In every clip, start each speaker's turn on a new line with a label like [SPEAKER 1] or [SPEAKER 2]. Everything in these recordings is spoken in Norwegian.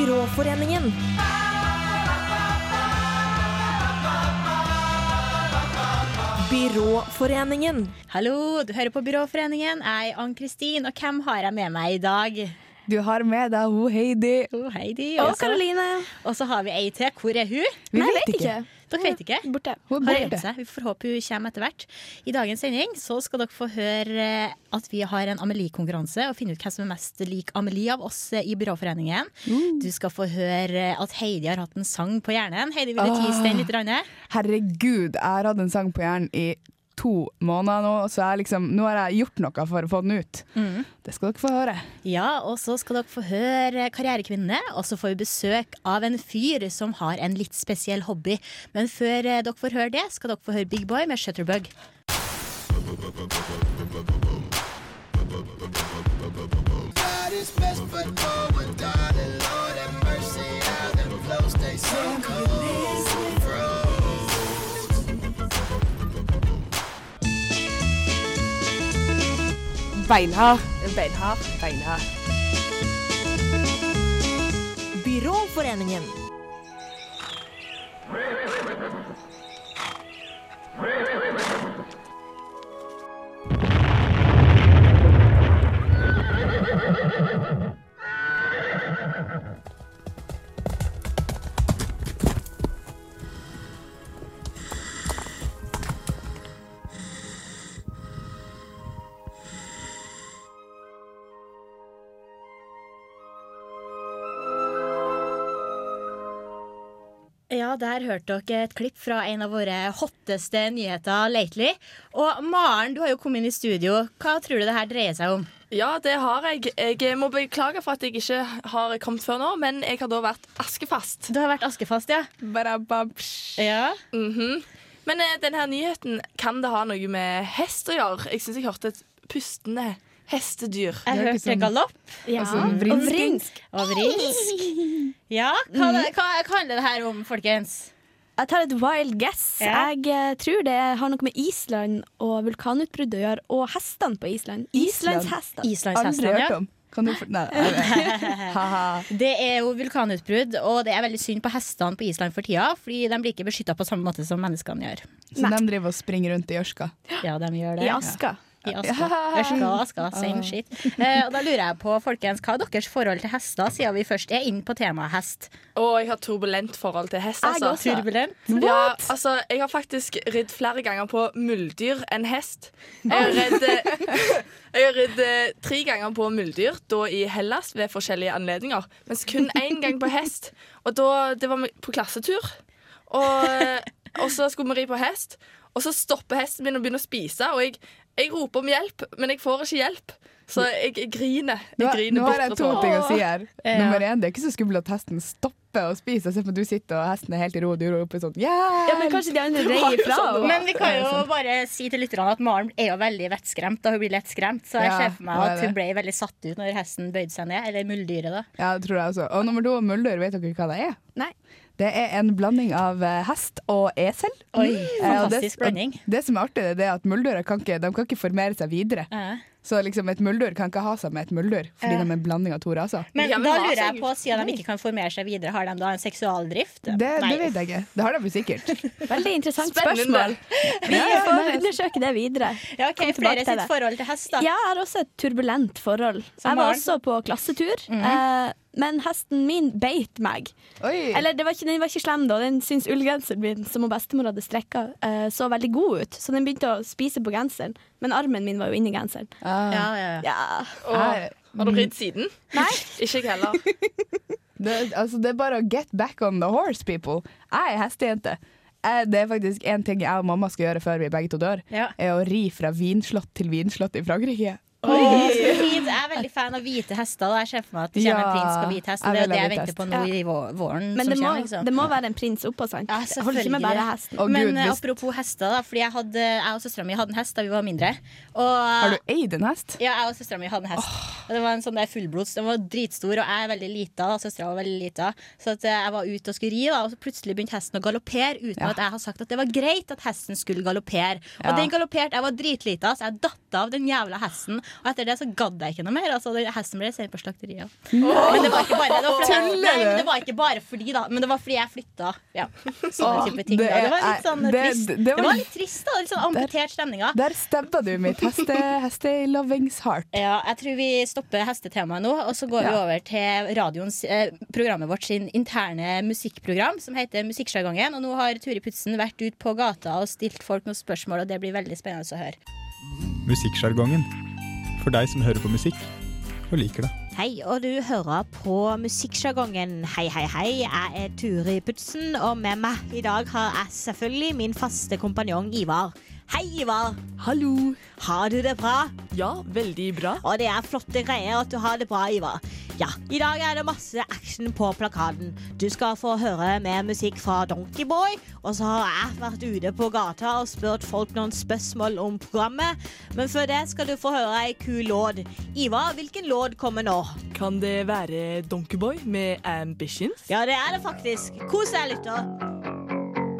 [SPEAKER 1] Kreftforeningen. Byråforeningen.
[SPEAKER 2] Hallo, du hører på Byråforeningen. Jeg er Ann-Kristin, og hvem har jeg med meg i dag?
[SPEAKER 3] Du har med deg hun Heidi.
[SPEAKER 2] Oh, Heidi.
[SPEAKER 1] Og
[SPEAKER 2] også.
[SPEAKER 1] Karoline.
[SPEAKER 2] Og så har vi ei til. Hvor er hun?
[SPEAKER 3] Vi
[SPEAKER 4] Nei,
[SPEAKER 3] vet ikke.
[SPEAKER 2] Dere vet ikke?
[SPEAKER 4] Borte.
[SPEAKER 3] Hun
[SPEAKER 2] Har
[SPEAKER 3] er
[SPEAKER 2] gjemt
[SPEAKER 3] borte.
[SPEAKER 2] seg. Vi får håpe hun kommer etter hvert. I dagens sending så skal dere få høre eh, at vi har en Amelie-konkurranse, og finne ut hvem som er mest lik Amelie av oss eh, i Byråforeningen.
[SPEAKER 3] Mm.
[SPEAKER 2] Du skal få høre eh, at Heidi har hatt en sang på hjernen. Heidi, vil du
[SPEAKER 3] Ah.
[SPEAKER 2] tease den litt? Ranne?
[SPEAKER 3] Herregud, jeg har hatt en sang på hjernen i to måneder nå, så jeg liksom, nå har jeg gjort noe for å få den ut.
[SPEAKER 4] Mm.
[SPEAKER 3] Det skal dere få høre.
[SPEAKER 2] Ja, og så skal dere få høre Karrierekvinnene, og så får vi besøk av en fyr som har en litt spesiell hobby. Men før eh, dere får høre det, skal dere få høre Big Boy med Shutterbug.
[SPEAKER 4] Beinhard. Beinhard. Beinhard.
[SPEAKER 1] Byråforeningen.
[SPEAKER 2] Ja, der hørte dere et klipp fra en av våre hotteste nyheter lately. Og Maren, du har jo kommet inn i studio. Hva tror du det her dreier seg om?
[SPEAKER 4] Ja, det har jeg. Jeg må beklage for at jeg ikke har kommet før nå, men jeg har da vært askefast.
[SPEAKER 2] Du har vært askefast, ja? Ja.
[SPEAKER 4] Mhm. Men eh, denne nyheten, kan det ha noe med hest å gjøre? Jeg syns jeg hørte et pustende hestedyr.
[SPEAKER 2] Jeg
[SPEAKER 3] ikke
[SPEAKER 2] hørte
[SPEAKER 3] sånn-
[SPEAKER 2] galopp.
[SPEAKER 3] Altså, vrinsk.
[SPEAKER 2] Og vrinsk. Ja, hva, hva, hva handler det her om, folkens?
[SPEAKER 5] Jeg tar et wild guess.
[SPEAKER 2] Ja.
[SPEAKER 5] Jeg eh, tror det har noe med Island og vulkanutbruddet å gjøre, og hestene på Island.
[SPEAKER 3] Island?
[SPEAKER 5] Islandshester.
[SPEAKER 3] Aldri
[SPEAKER 2] Islandshestene, ja.
[SPEAKER 3] hørt om. Kan du for... Nei, haha.
[SPEAKER 2] Det er jo vulkanutbrudd, og det er veldig synd på hestene på Island for tida, fordi de blir ikke beskytta på samme måte som menneskene gjør.
[SPEAKER 3] Så de driver og springer rundt i ørska.
[SPEAKER 2] Ja, de gjør det.
[SPEAKER 5] I aska.
[SPEAKER 2] I Aska. Ørska, Aska, same shit. Eh, og da lurer jeg på, folkens, hva er deres forhold til hester, siden vi først er inne på temaet hest?
[SPEAKER 4] Og jeg har turbulent forhold til hest,
[SPEAKER 5] Jeg
[SPEAKER 4] altså.
[SPEAKER 5] også.
[SPEAKER 2] Turbulent?
[SPEAKER 4] Ja, altså, jeg har faktisk ridd flere ganger på muldyr enn hest. Jeg har ridd, eh, jeg har ridd eh, tre ganger på muldyr, da i Hellas ved forskjellige anledninger. Mens kun én gang på hest. Og da, det var med- på klassetur. Og, eh, og så skulle vi ri på hest, og så stopper hesten min og begynner å spise. Og jeg, jeg roper om hjelp, men jeg får ikke hjelp. Så jeg, jeg griner.
[SPEAKER 3] Nå,
[SPEAKER 4] Jeg griner
[SPEAKER 3] nå har jeg
[SPEAKER 4] bort
[SPEAKER 3] to
[SPEAKER 4] og
[SPEAKER 3] ting å si her. Nummer én, det er ikke så skummelt at hesten stopper å spise. Jeg ser på at du sitter og hesten er helt i ro, og du roper sånn
[SPEAKER 5] Ja,
[SPEAKER 3] yeah!
[SPEAKER 5] men kanskje de andre dreier ifra.
[SPEAKER 2] Men vi kan jo bare si til lytterne at Maren er jo veldig vettskremt, og hun blir lett skremt, så jeg
[SPEAKER 3] Ja,
[SPEAKER 2] ser for meg
[SPEAKER 3] hun er
[SPEAKER 2] at hun
[SPEAKER 3] det.
[SPEAKER 2] ble veldig satt ut når hesten bøyde seg ned, eller muldyret, da.
[SPEAKER 3] Ja, det tror jeg også. Og nummer to, muldyr, vet dere hva det er?
[SPEAKER 5] Nei.
[SPEAKER 3] Det er en blanding av eh, hest og esel.
[SPEAKER 2] Oi,
[SPEAKER 3] Eh, og
[SPEAKER 2] fantastisk
[SPEAKER 3] det, og
[SPEAKER 2] blanding.
[SPEAKER 3] Det som er artig, det er at muldyrer kan ikke, de kan ikke formere seg videre.
[SPEAKER 2] Ja.
[SPEAKER 3] Så liksom et muldyr kan ikke ha seg med et muldyr, fordi de er en blanding av to raser.
[SPEAKER 2] Men
[SPEAKER 4] Ja, men
[SPEAKER 2] da
[SPEAKER 4] hva
[SPEAKER 2] lurer jeg
[SPEAKER 4] sier-
[SPEAKER 2] på, siden de ikke kan formere seg videre, har de da en seksualdrift?
[SPEAKER 3] Det, det vet
[SPEAKER 2] Nei.
[SPEAKER 3] jeg ikke. Det har de jo sikkert.
[SPEAKER 5] Veldig interessant
[SPEAKER 4] Spennende.
[SPEAKER 5] spørsmål. Vi får undersøke det videre.
[SPEAKER 2] Ja, ok,
[SPEAKER 5] Kom tilbake
[SPEAKER 2] flere
[SPEAKER 5] til
[SPEAKER 2] sitt
[SPEAKER 5] det.
[SPEAKER 2] forhold til hest, da.
[SPEAKER 5] Jeg har også et turbulent forhold. Jeg var
[SPEAKER 2] Maren?
[SPEAKER 5] også på klassetur, eh, men hesten min beit meg.
[SPEAKER 3] Oi!
[SPEAKER 5] Eller det var ikke, den var ikke slem da. Den syntes ullgenseren min, som hun bestemor hadde strekka, eh, så veldig god ut. Så den begynte å spise på genseren. Men armen min var jo inni genseren.
[SPEAKER 3] Ah,
[SPEAKER 2] Ja, ja, ja.
[SPEAKER 5] Ja.
[SPEAKER 3] mm,
[SPEAKER 4] og, Har du ridd siden? Nei. Ikke jeg heller.
[SPEAKER 3] det, altså, det er bare å get back on the horse, people. Jeg er hestejente. Jeg, det er faktisk én ting jeg og mamma skal gjøre før vi begge to dør,
[SPEAKER 2] Ja.
[SPEAKER 3] er å ri fra vinslott til vinslott i Frankrike.
[SPEAKER 2] Åh, så fint. Jeg er veldig fan av hvite hester. Da. Jeg ser for meg at det kommer en
[SPEAKER 3] Ja,
[SPEAKER 2] prins på hvit hest. Og
[SPEAKER 3] jeg
[SPEAKER 2] det er jo
[SPEAKER 3] vil
[SPEAKER 2] det
[SPEAKER 3] ha
[SPEAKER 2] jeg
[SPEAKER 3] hvit
[SPEAKER 2] venter
[SPEAKER 3] hest.
[SPEAKER 2] på nå i vå- våren.
[SPEAKER 5] Men
[SPEAKER 2] som
[SPEAKER 5] det må,
[SPEAKER 2] kommer, liksom.
[SPEAKER 5] det må være en prins oppå, sant?
[SPEAKER 2] Ja,
[SPEAKER 5] det holder ikke med bare hesten.
[SPEAKER 3] Å,
[SPEAKER 2] Men
[SPEAKER 3] Gud,
[SPEAKER 2] eh,
[SPEAKER 3] hvis-
[SPEAKER 2] apropos hester, da, fordi jeg, hadde, jeg og søstera mi hadde en hest da vi var mindre. Og,
[SPEAKER 3] Har du eid en hest?
[SPEAKER 2] Ja, jeg og søstera mi hadde en hest.
[SPEAKER 6] Og det var en sånn der fullblods. Den var dritstor, og jeg er veldig lita. da, Søstera var veldig lita. Så at eh, jeg var ute og skulle ri, da, og så plutselig begynte hesten å galoppere uten
[SPEAKER 3] Ja.
[SPEAKER 6] at jeg har sagt at det var greit at hesten skulle galoppere. Og
[SPEAKER 3] Ja.
[SPEAKER 6] den galopperte, jeg var dritlita, så jeg datt av den jævla hesten. Og etter det så gadd jeg ikke noe mer. Altså, den hesten ble sendt på slakteriet. Men det var ikke bare det var fordi,
[SPEAKER 3] Tuller
[SPEAKER 6] nei, men
[SPEAKER 3] du?
[SPEAKER 6] det var ikke bare fordi, da. Men det var fordi jeg flytta. Ja. Sånne
[SPEAKER 3] Åh,
[SPEAKER 6] type ting.
[SPEAKER 3] det
[SPEAKER 6] da. Det var
[SPEAKER 3] er-
[SPEAKER 6] litt sånn
[SPEAKER 3] det-
[SPEAKER 6] trist.
[SPEAKER 3] det- det
[SPEAKER 6] Det
[SPEAKER 3] var-
[SPEAKER 6] var litt trist, da. Litt sånn amputert stemninga.
[SPEAKER 3] Der stabba du mitt heste, hestelovingsheart.
[SPEAKER 6] Ja, jeg tror vi stopper hestetemaet nå, og så går vi
[SPEAKER 3] Ja.
[SPEAKER 6] over til radioens, eh, programmet vårt sin interne musikkprogram, som heter Musikksjargongen. Og nå har Turi Putsen vært ut på gata og stilt folk noen spørsmål, og det blir veldig spennende å høre.
[SPEAKER 7] Musikksjargongen. For deg som hører på musikk og liker det.
[SPEAKER 8] Hei, og du hører på Musikksjargongen. Hei, hei, hei. Jeg er Turi Putsen, og med meg i dag har jeg selvfølgelig min faste kompanjong Ivar. Hei, Ivar.
[SPEAKER 9] Hallo.
[SPEAKER 8] Har du det bra?
[SPEAKER 9] Ja, veldig bra.
[SPEAKER 8] Og det er flotte greier at du har det bra, Ivar. Ja, I dag er det masse action på plakaten. Du skal få høre mer musikk fra Donkeyboy. Og så har jeg vært ute på gata og spurt folk noen spørsmål om programmet. Men før det skal du få høre ei kul låt. Ivar, hvilken låt kommer nå?
[SPEAKER 9] Kan det være Donkeyboy med Ambitions?
[SPEAKER 8] Ja, det er det faktisk. Kos deg, lytter.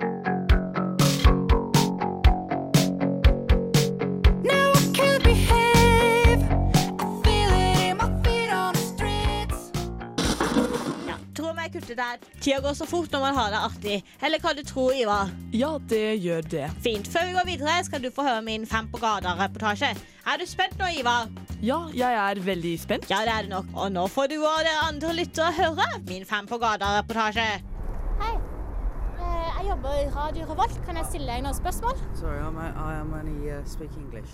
[SPEAKER 8] Ja, tror vi jeg kuttet der. Tida går så fort når man har det artig. Eller hva du tror, Ivar.
[SPEAKER 9] Ja, det gjør det.
[SPEAKER 8] Fint. Før vi går videre, skal du få høre min Fem på gata-reportasje. Er du spent nå, Ivar?
[SPEAKER 9] Ja, jeg er veldig spent.
[SPEAKER 8] Ja, det er det nok. Og nå får du og dere andre lyttere høre min Fem på gata-reportasje.
[SPEAKER 2] Eh, Jeg jobber i Radio Revolt. Kan jeg stille deg noen spørsmål?
[SPEAKER 10] Sorry, I'm, I am only uh, speak English.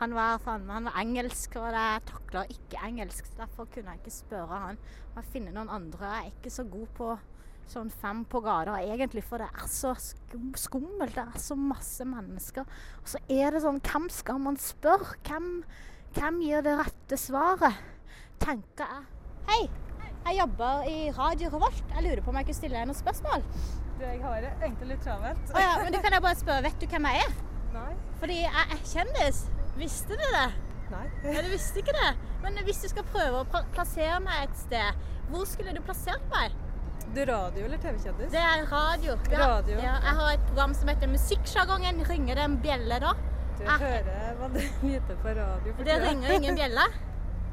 [SPEAKER 2] Han var, faen, meg- han var engelsk, og jeg takler ikke engelsk. så Derfor kunne jeg ikke spørre han. Jeg finner noen andre. Jeg er ikke så god på sånn fem på gata egentlig, for det er så skum, skummelt. Det er så masse mennesker. Og så er det sånn, hvem skal man spørre? Hvem, hvem gir det rette svaret? Tenker jeg. Hei, jeg jobber i Radio Revolt. Jeg lurer på om jeg kunne stille deg noen spørsmål. Å ja, men du kan jeg bare spørre, vet du hvem jeg er? Nei. Fordi jeg er kjendis. Visste du det? Nei. Ja, du visste ikke det? Men hvis du skal prøve å pla- plassere meg et sted, hvor skulle du plassert meg? Du radio eller TV-kjendis? Det er radio. radio. Ja, jeg har et program som heter Musikksjargongen. Ringer det en bjelle da? Du hører hva du lyder på radio. det ringer ingen bjelle.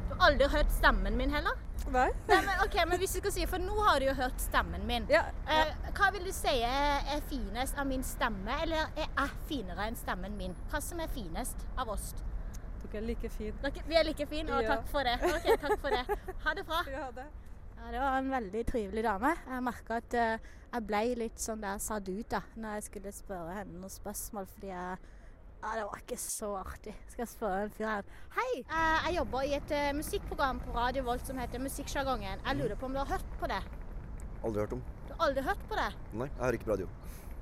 [SPEAKER 2] Du har aldri hørt stemmen min heller? Nei. men, ok, men hvis du skal si, for nå har du jo hørt stemmen min. Eh, hva vil du si er er finest av min stemme, eller er jeg finere enn stemmen min? Hva som er finest av oss? Dere, vi er like fine. Og takk for det. Ok, takk for det. Ha det bra. Ja, det var en veldig trivelig dame. Jeg merka at eh, jeg ble litt sånn der satt ut da, når jeg skulle spørre henne noen spørsmål, fordi jeg ja, det var ikke så artig. Skal jeg spørre en fyr her. Hei, eh, jeg jobber i et eh, musikkprogram på Radio Volt som heter Musikksjargongen. Jeg lurer på om du har hørt på det?
[SPEAKER 11] Aldri hørt om.
[SPEAKER 2] Du har aldri hørt på det?
[SPEAKER 11] Nei, jeg hører ikke på radio.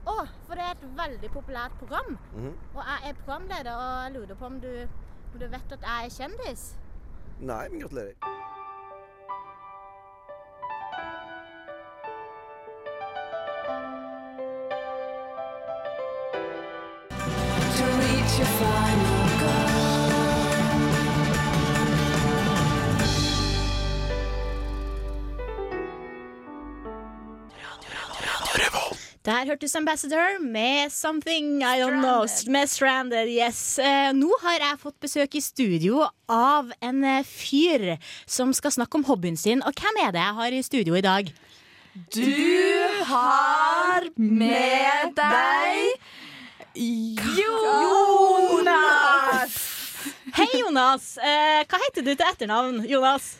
[SPEAKER 2] Å, for det er et veldig populært program.
[SPEAKER 11] Mhm.
[SPEAKER 2] Og jeg er programleder, og jeg lurer på om du, om du vet at jeg er kjendis?
[SPEAKER 11] Nei, men gratulerer.
[SPEAKER 6] Der hørtes Ambassador med Something I Don't Know. Med Stranded, yes. Eh, nå har jeg fått besøk i studio av en eh, fyr som skal snakke om hobbyen sin. Og hvem er det jeg har i studio i dag?
[SPEAKER 3] Du har med deg Jonas!
[SPEAKER 6] Hei, Jonas! Eh, hva heter du til etternavn, Jonas?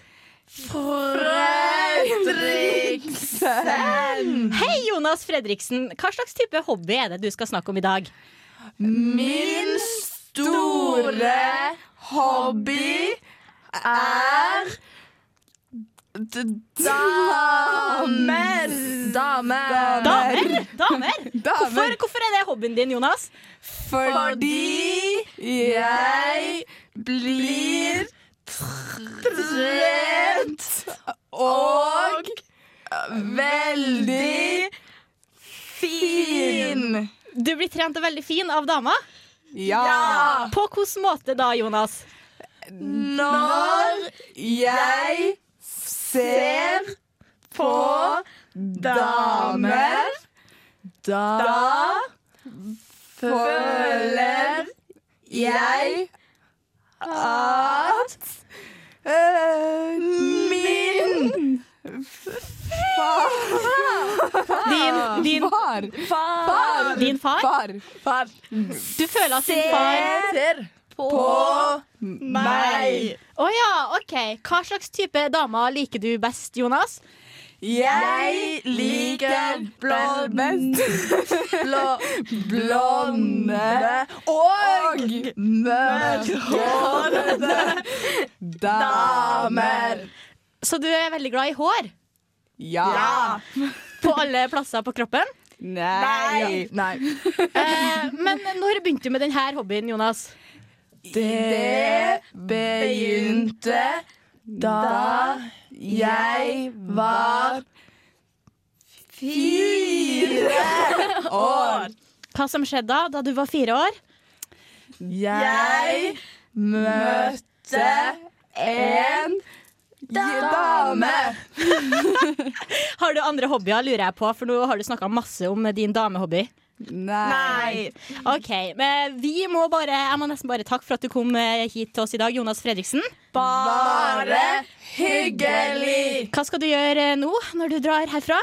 [SPEAKER 3] Fredriksen!
[SPEAKER 6] Hei, Jonas Fredriksen. Hva slags type hobby er det du skal snakke om i dag?
[SPEAKER 3] Min store hobby er d- damer. Damer.
[SPEAKER 6] Damer! Damer! Hvorfor,
[SPEAKER 3] Damer.
[SPEAKER 6] hvorfor er det hobbyen din, Jonas?
[SPEAKER 3] Fordi jeg blir trent og veldig fin.
[SPEAKER 6] Du blir trent og veldig fin av dama.
[SPEAKER 3] Ja!
[SPEAKER 6] På hvilken måte da, Jonas?
[SPEAKER 4] Når jeg
[SPEAKER 3] ser
[SPEAKER 4] på damer, da føler jeg at øh, min
[SPEAKER 1] Din, din
[SPEAKER 3] Far! Far!
[SPEAKER 1] Din far?
[SPEAKER 3] Far! Far.
[SPEAKER 1] Du føler at din far
[SPEAKER 4] ser på meg.
[SPEAKER 1] Å ja, OK. Hva slags type damer liker du best, Jonas?
[SPEAKER 4] Jeg liker blond, blå, blonde og mørkhårede damer.
[SPEAKER 1] Så du er veldig glad i hår?
[SPEAKER 3] Ja!
[SPEAKER 1] På alle plasser på kroppen?
[SPEAKER 3] Nei! Nei.
[SPEAKER 1] Eh, men når begynte du med denne hobbyen, Jonas?
[SPEAKER 4] Det begynte da jeg var fire år.
[SPEAKER 1] Hva som skjedde da, da du var fire år?
[SPEAKER 4] Jeg møtte en dame.
[SPEAKER 1] Har du andre hobbyer, lurer jeg på, for nå har du snakka masse om din damehobby.
[SPEAKER 3] Nei.
[SPEAKER 1] OK. Men vi må bare Jeg må nesten bare takke for at du kom eh, hit til oss i dag, Jonas Fredriksen.
[SPEAKER 4] Bare hyggelig.
[SPEAKER 1] Hva skal du gjøre eh, nå, når du drar herfra?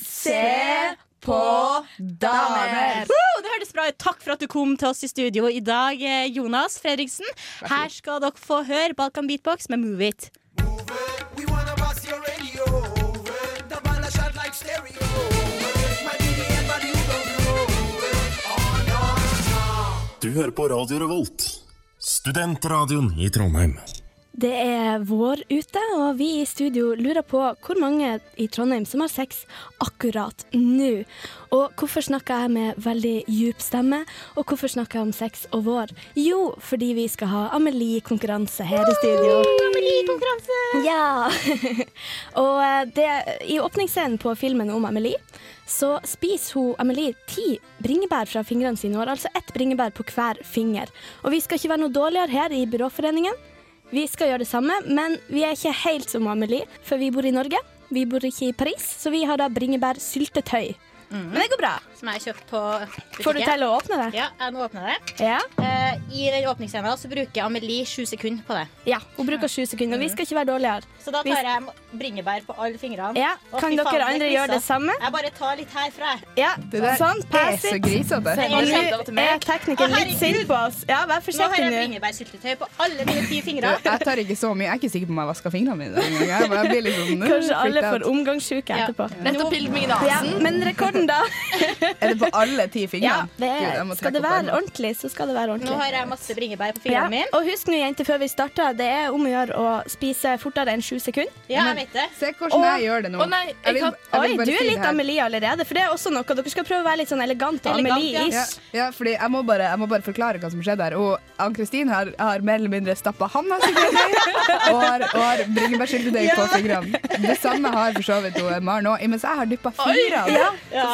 [SPEAKER 4] Se på damer.
[SPEAKER 1] Woo, det hørtes bra ut. Takk for at du kom til oss i studio i dag, eh, Jonas Fredriksen. Her skal dere få høre Balkan Beatbox med Move It.
[SPEAKER 12] Du hører på Radio Revolt, studentradioen i Trondheim.
[SPEAKER 5] Det er vår ute, og vi i studio lurer på hvor mange i Trondheim som har sex akkurat nå. Og hvorfor snakker jeg med veldig djup stemme, og hvorfor snakker jeg om sex og vår? Jo, fordi vi skal ha Amelie-konkurranse her i studio.
[SPEAKER 9] Amelie-konkurranse!
[SPEAKER 5] Ja. og eh, det, i åpningsscenen på filmen om Amelie, så spiser hun Amelie ti bringebær fra fingrene sine. Hun har altså ett bringebær på hver finger. Og vi skal ikke være noe dårligere her i Byråforeningen. Vi skal gjøre det samme, men vi er ikke helt som Amelie, for vi bor i Norge. Vi bor ikke i Paris, så vi har da bringebærsyltetøy.
[SPEAKER 2] Mm,
[SPEAKER 5] Men det går bra.
[SPEAKER 2] Som jeg har kjøpt på butikken.
[SPEAKER 5] Får du til å åpne det?
[SPEAKER 2] Ja, jeg nå åpner det.
[SPEAKER 5] Ja.
[SPEAKER 2] Eh, I den åpningsscenen så bruker Amelie sju sekunder på det.
[SPEAKER 5] ja. Hun bruker sju sekunder. Vi skal ikke være dårligere.
[SPEAKER 2] Så da
[SPEAKER 5] Hvis-
[SPEAKER 2] tar jeg bringebær på alle fingrene.
[SPEAKER 5] Ja.
[SPEAKER 2] Å,
[SPEAKER 5] Kan
[SPEAKER 2] fy faen,
[SPEAKER 5] dere andre gjøre det
[SPEAKER 2] krysser.
[SPEAKER 5] samme?
[SPEAKER 2] Jeg bare tar litt herfra, jeg.
[SPEAKER 5] Ja.
[SPEAKER 3] Det der
[SPEAKER 5] Sånn.
[SPEAKER 3] er
[SPEAKER 5] Pass
[SPEAKER 3] så
[SPEAKER 5] it.
[SPEAKER 3] grisete.
[SPEAKER 5] Og
[SPEAKER 2] Nå
[SPEAKER 5] nå er teknikeren
[SPEAKER 2] Å,
[SPEAKER 5] litt
[SPEAKER 2] herregud.
[SPEAKER 5] sint på oss. Ja, vær
[SPEAKER 2] har
[SPEAKER 5] forsiktig
[SPEAKER 2] jeg
[SPEAKER 5] nå.
[SPEAKER 2] bringebærsyltetøy på alle mine ti fingre.
[SPEAKER 3] Jeg tar ikke så mye. Jeg er ikke sikker på om jeg vasker fingrene mine. den gangen. Jeg bare blir litt sånn,
[SPEAKER 5] Kanskje alle
[SPEAKER 3] freaked
[SPEAKER 5] får
[SPEAKER 3] out.
[SPEAKER 5] omgangssyke
[SPEAKER 2] Ja.
[SPEAKER 5] etterpå.
[SPEAKER 4] Nettopp bildet meg i
[SPEAKER 5] Ja,
[SPEAKER 4] nasen.
[SPEAKER 5] men rekorden, da?
[SPEAKER 3] Er det på alle ti fingrene?
[SPEAKER 5] det
[SPEAKER 3] Gud,
[SPEAKER 5] er,
[SPEAKER 3] jeg må
[SPEAKER 5] skal
[SPEAKER 3] trekke
[SPEAKER 5] det
[SPEAKER 3] opp
[SPEAKER 5] være
[SPEAKER 3] armen.
[SPEAKER 5] ordentlig, så skal det være
[SPEAKER 2] Nå
[SPEAKER 5] ordentlig.
[SPEAKER 2] har jeg masse bringebær på
[SPEAKER 5] Ja.
[SPEAKER 2] fingrene mine.
[SPEAKER 5] Og husk nå, jenter, før vi starter, det er om å gjøre å spise fortere enn sju sekunder.
[SPEAKER 2] Ja, jeg vet det.
[SPEAKER 3] Se hvordan jeg gjør det nå.
[SPEAKER 4] Å nei, jeg
[SPEAKER 3] vil-
[SPEAKER 4] kan-
[SPEAKER 3] jeg vil
[SPEAKER 5] Oi,
[SPEAKER 3] bare
[SPEAKER 5] du
[SPEAKER 3] si
[SPEAKER 5] er
[SPEAKER 3] det
[SPEAKER 5] litt
[SPEAKER 3] her.
[SPEAKER 5] Amelie allerede, for det er også noe. Dere skal prøve å være litt sånn elegant og
[SPEAKER 2] Elegant,
[SPEAKER 5] Amelie-ish.
[SPEAKER 3] Ja, ja, fordi jeg må, bare, jeg må bare forklare hva som skjedde her. Og Ann-Kristin har, har mer eller mindre stappa handa si i og har, og har bringebærsyltetøy på fingrene. Det samme har for så vidt hun, eh, Maren òg, mens jeg har dyppa fingrene.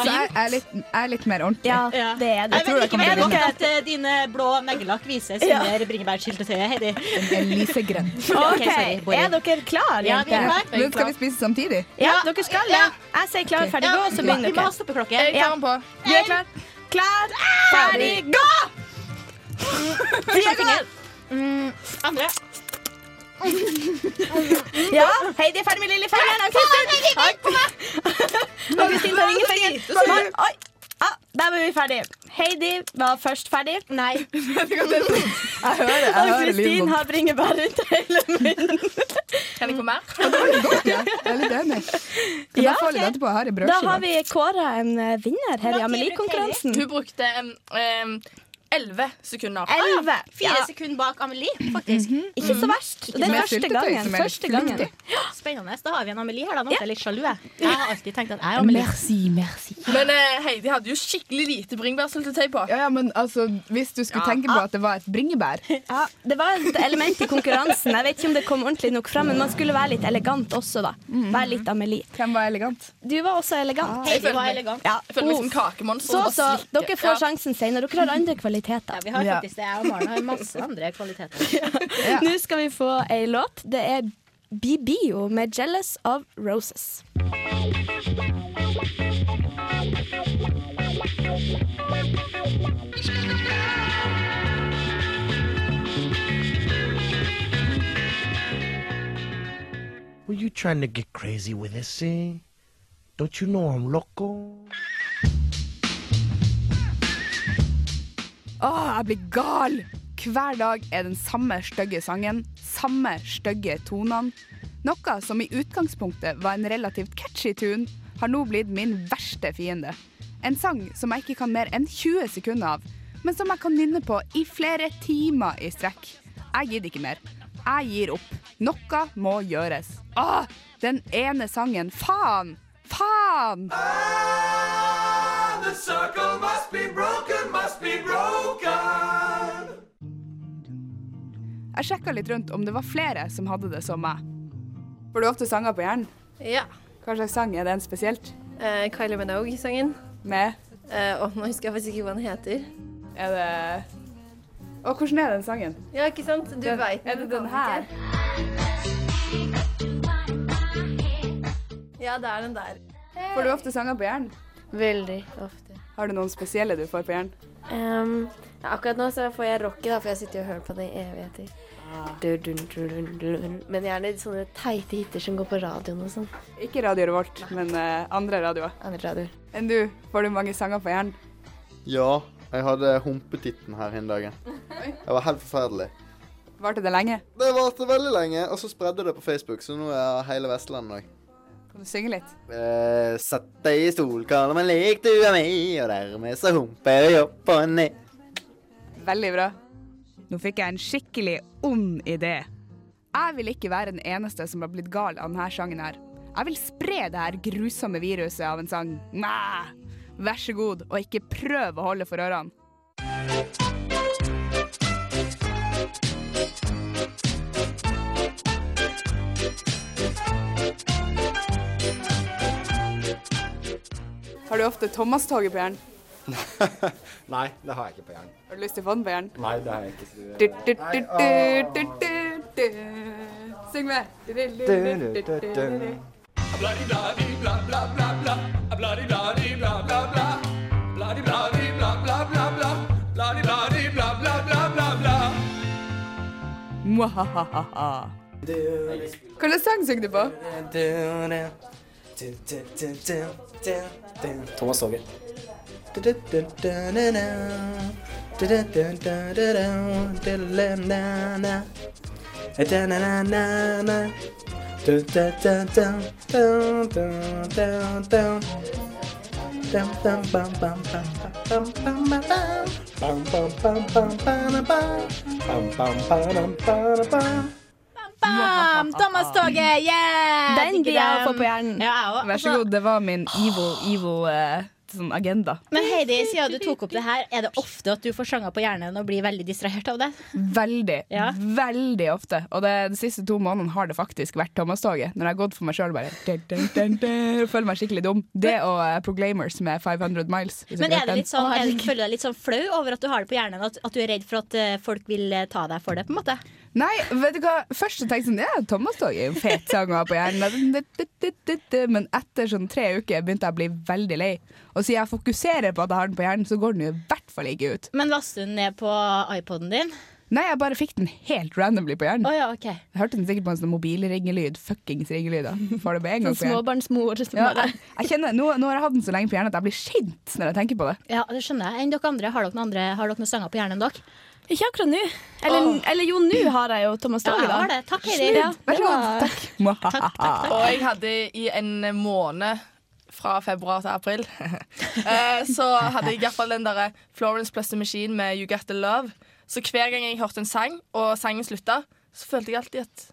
[SPEAKER 3] Så jeg jeg er litt, jeg er litt mer ordentlig.
[SPEAKER 5] Ja,
[SPEAKER 1] Ja.
[SPEAKER 5] det er det.
[SPEAKER 1] Jeg vet ikke
[SPEAKER 3] jeg kommer
[SPEAKER 1] mer
[SPEAKER 3] til å
[SPEAKER 1] godt at eh, dine blå neglelakk vises
[SPEAKER 5] Ja.
[SPEAKER 1] under bringebærsyltetøyet, Heidi.
[SPEAKER 3] En lysegrønn.
[SPEAKER 5] OK,
[SPEAKER 1] sorry, Boje.
[SPEAKER 5] er dere klare,
[SPEAKER 1] Ja, vi er
[SPEAKER 5] jenter?
[SPEAKER 1] klare.
[SPEAKER 3] Men skal vi spise samtidig?
[SPEAKER 5] Ja, dere skal det. Jeg sier klar, ferdig, gå, og så
[SPEAKER 1] vi
[SPEAKER 5] begynner
[SPEAKER 1] må ha
[SPEAKER 5] dere.
[SPEAKER 1] stoppeklokke.
[SPEAKER 4] Jeg tar den på.
[SPEAKER 5] Du er klar? Klar, ferdig, gå!
[SPEAKER 1] Første finger. Mm, andre.
[SPEAKER 5] Ja, Heidi er ferdig med lillefingeren. Ann-Kristin Ann-Kristin tar ringefingeren. Maren- Oi! Ah, der var vi ferdig. Heidi var først ferdig.
[SPEAKER 1] Nei.
[SPEAKER 3] Jeg hører, jeg hører
[SPEAKER 5] Ann-Kristin
[SPEAKER 3] lyden.
[SPEAKER 5] har bringebær rundt hele munnen.
[SPEAKER 4] Kan jeg få mer?
[SPEAKER 3] Godt, ja. Jeg er litt enig. Kan
[SPEAKER 5] Ja,
[SPEAKER 3] jeg få litt
[SPEAKER 5] ok.
[SPEAKER 3] etterpå? Jeg har i
[SPEAKER 5] Da har
[SPEAKER 3] brødskiva.
[SPEAKER 5] vi kåra en eh, vinner her i Amelie-konkurransen.
[SPEAKER 4] Hun brukte elleve sekunder.
[SPEAKER 5] Elleve.
[SPEAKER 4] Ah,
[SPEAKER 1] Fire
[SPEAKER 5] Ja,
[SPEAKER 1] sekunder bak Amelie, faktisk.
[SPEAKER 5] ikke
[SPEAKER 4] Mm.
[SPEAKER 5] så verst. Det er
[SPEAKER 3] Med
[SPEAKER 5] første
[SPEAKER 3] syltetøy,
[SPEAKER 5] gangen.
[SPEAKER 3] som er litt
[SPEAKER 5] Første gangen.
[SPEAKER 3] flyktig.
[SPEAKER 1] Spennende. Da har vi en Amelie her. da. Nå
[SPEAKER 5] Ja.
[SPEAKER 1] er jeg litt sjalu. Jeg Jeg har alltid tenkt at jeg er Amelie.
[SPEAKER 4] Men eh, Heidi hadde jo skikkelig lite bringebærsyltetøy på.
[SPEAKER 3] Ja, ja, men altså, hvis du skulle tenke på at det var et bringebær
[SPEAKER 5] Ja, det var et element i konkurransen. Jeg vet ikke om det kom ordentlig nok fram, men man skulle være litt elegant også, da.
[SPEAKER 3] Mm.
[SPEAKER 5] Være litt Amelie.
[SPEAKER 3] Hvem var elegant?
[SPEAKER 5] Du var også elegant.
[SPEAKER 4] Ah. Jeg føler meg,
[SPEAKER 5] Ja.
[SPEAKER 4] jeg føler meg som kakemonster.
[SPEAKER 5] Så,
[SPEAKER 4] som bare
[SPEAKER 5] så,
[SPEAKER 4] slikker.
[SPEAKER 5] dere får sjansen senere. Dere har andre kvaliteter.
[SPEAKER 2] Ja, vi har
[SPEAKER 3] Ja.
[SPEAKER 2] faktisk det. Jeg og Maren har masse andre kvaliteter.
[SPEAKER 5] Nå skal vi få ei låt. Det er BBO med 'Jealous of Roses'.
[SPEAKER 13] Were you trying to get crazy with this thing? Don't you know I'm loco?
[SPEAKER 3] Åh, jeg blir gal! Hver dag er den samme stygge sangen, samme stygge tonene. Noe som i utgangspunktet var en relativt catchy tune, har nå blitt min verste fiende. En sang som jeg ikke kan mer enn 20 sekunder av, men som jeg kan nynne på i flere timer i strekk. Jeg gidder ikke mer. Jeg gir opp. Noe må gjøres. Åh, den ene sangen. Faen! Faen!
[SPEAKER 14] The circle must be broken, must be broken.
[SPEAKER 3] Jeg sjekka litt rundt om det var flere som hadde det som meg. Får du ofte sanger på hjernen?
[SPEAKER 15] Ja.
[SPEAKER 3] Hva slags sang er den spesielt?
[SPEAKER 15] Eh, Kylie Minogue-sangen.
[SPEAKER 3] Med?
[SPEAKER 15] Eh, og nå husker jeg faktisk ikke hva den heter.
[SPEAKER 3] Er det Og hvordan er den sangen?
[SPEAKER 15] Ja, ikke sant? Du
[SPEAKER 3] Den-
[SPEAKER 15] veit
[SPEAKER 3] er det den her?
[SPEAKER 15] Ja, det er den der.
[SPEAKER 3] Får du ofte sanger på hjernen?
[SPEAKER 15] Veldig ofte.
[SPEAKER 3] Har du noen spesielle du får på hjernen?
[SPEAKER 15] Ehm, ja, akkurat nå så får jeg rocket, da, for jeg sitter og hører på den i evigheter. Du, dun, dun, dun, dun. Men gjerne sånne teite hiter som går på radioen og sånn.
[SPEAKER 3] Ikke Radio Revolt, men eh, andre radioer.
[SPEAKER 15] Andre radioer.
[SPEAKER 3] Enn du, får du mange sanger på hjernen?
[SPEAKER 11] Ja, jeg hadde humpetitten her en dag. Det var helt forferdelig.
[SPEAKER 3] Varte det lenge?
[SPEAKER 11] Det varte veldig lenge, og så spredde det på Facebook, så nå er hele Vestlandet òg.
[SPEAKER 3] Kan du synge litt?
[SPEAKER 11] Eh, Sett deg i stolkarmen, men lik du er meg, og dermed så humper jeg opp og ned.
[SPEAKER 3] Veldig bra. Nå fikk jeg en skikkelig ond idé. Jeg vil ikke være den eneste som har blitt gal av denne sangen her. Jeg vil spre det her grusomme viruset av en sang. Næh! Vær så god, og ikke prøv å holde for ørene. Har du ofte Thomas-toget på hjernen?
[SPEAKER 16] Nei, det har jeg ikke på hjernen.
[SPEAKER 3] Har du lyst til å få den på hjernen?
[SPEAKER 16] Nei, det har jeg ikke. så
[SPEAKER 3] Du,
[SPEAKER 16] det-
[SPEAKER 3] du,
[SPEAKER 16] Nei,
[SPEAKER 3] du,
[SPEAKER 16] åh.
[SPEAKER 3] du, du, du, du. Syng med. Du, du, du, du, du, du, du.
[SPEAKER 14] Bla-di-bla-di-bla-bla-bla-bla. Bla-di-bla-di-bla-bla-bla. Bla-di-bla-di-bla-bla-bla-bla. Bla-di-bla-di-bla-bla-bla-bla-bla.
[SPEAKER 3] Mwahahaha. Hva slags sang synger du på?
[SPEAKER 16] Thomas Toget.
[SPEAKER 2] Bam! Thomas-toget! Yeah!
[SPEAKER 5] Den blir jeg å få på
[SPEAKER 3] hjernen.
[SPEAKER 2] altså-
[SPEAKER 3] Vær så god, det var min evil, evil eh, sånn agenda.
[SPEAKER 2] Men Heidi, siden du tok opp det her, er det ofte at du får sanger på hjernen og blir veldig distrahert av det?
[SPEAKER 3] Veldig,
[SPEAKER 2] Ja.
[SPEAKER 3] veldig ofte. Og det, de siste to månedene har det faktisk vært Thomas-toget. Når jeg har gått for meg sjøl bare dun, dun, dun, dun, Føler meg skikkelig dum. Det og eh, Proclaimers med 500 miles. hvis
[SPEAKER 2] Men
[SPEAKER 3] dere
[SPEAKER 2] er
[SPEAKER 3] vet
[SPEAKER 2] det
[SPEAKER 3] den.
[SPEAKER 2] litt sånn, er det, føler du deg litt sånn flau over at du har det på hjernen? At, at du er redd for at eh, folk vil eh, ta deg for det, på en måte?
[SPEAKER 3] Nei, vet du hva? Først så tenkte jeg sånn, ja, Thomas-toget er jo en fet sang å ha på hjernen. Det- det- det- det- det. Men etter sånn tre uker begynte jeg å bli veldig lei. Og siden jeg fokuserer på at jeg har den på hjernen, så går den jo i hvert fall ikke ut.
[SPEAKER 2] Men laster du den ned på iPoden din?
[SPEAKER 3] Nei, jeg bare fikk den helt randomly på hjernen.
[SPEAKER 2] Å ja, ok.
[SPEAKER 3] Jeg hørte den sikkert på en sånn mobilringelyd. Fuckings ringelyd. da. Får det med en gang
[SPEAKER 2] Sånn
[SPEAKER 3] på hjernen.
[SPEAKER 5] Småbarnsmor. som
[SPEAKER 3] Ja,
[SPEAKER 5] er der.
[SPEAKER 3] jeg, jeg kjenner, nå, nå har jeg hatt den så lenge på hjernen at jeg blir sint når jeg tenker på det.
[SPEAKER 2] Ja, det skjønner jeg. Enn dere andre, har dere noen, andre, har dere noen sanger på hjernen dere?
[SPEAKER 5] Ikke akkurat nå. Eller, eller jo, nå har jeg jo Thomas
[SPEAKER 2] Ja,
[SPEAKER 5] Dale,
[SPEAKER 2] jeg
[SPEAKER 5] da.
[SPEAKER 2] har det. Takk, Heidi.
[SPEAKER 5] Ja,
[SPEAKER 4] Vær så god.
[SPEAKER 5] det var-
[SPEAKER 4] Og jeg hadde i en måned fra februar til april eh, Så hadde jeg i hvert fall den der Florence Plus The Machine med You Got The Love Så hver gang jeg hørte en sang Og sangen slutta Så følte jeg alltid at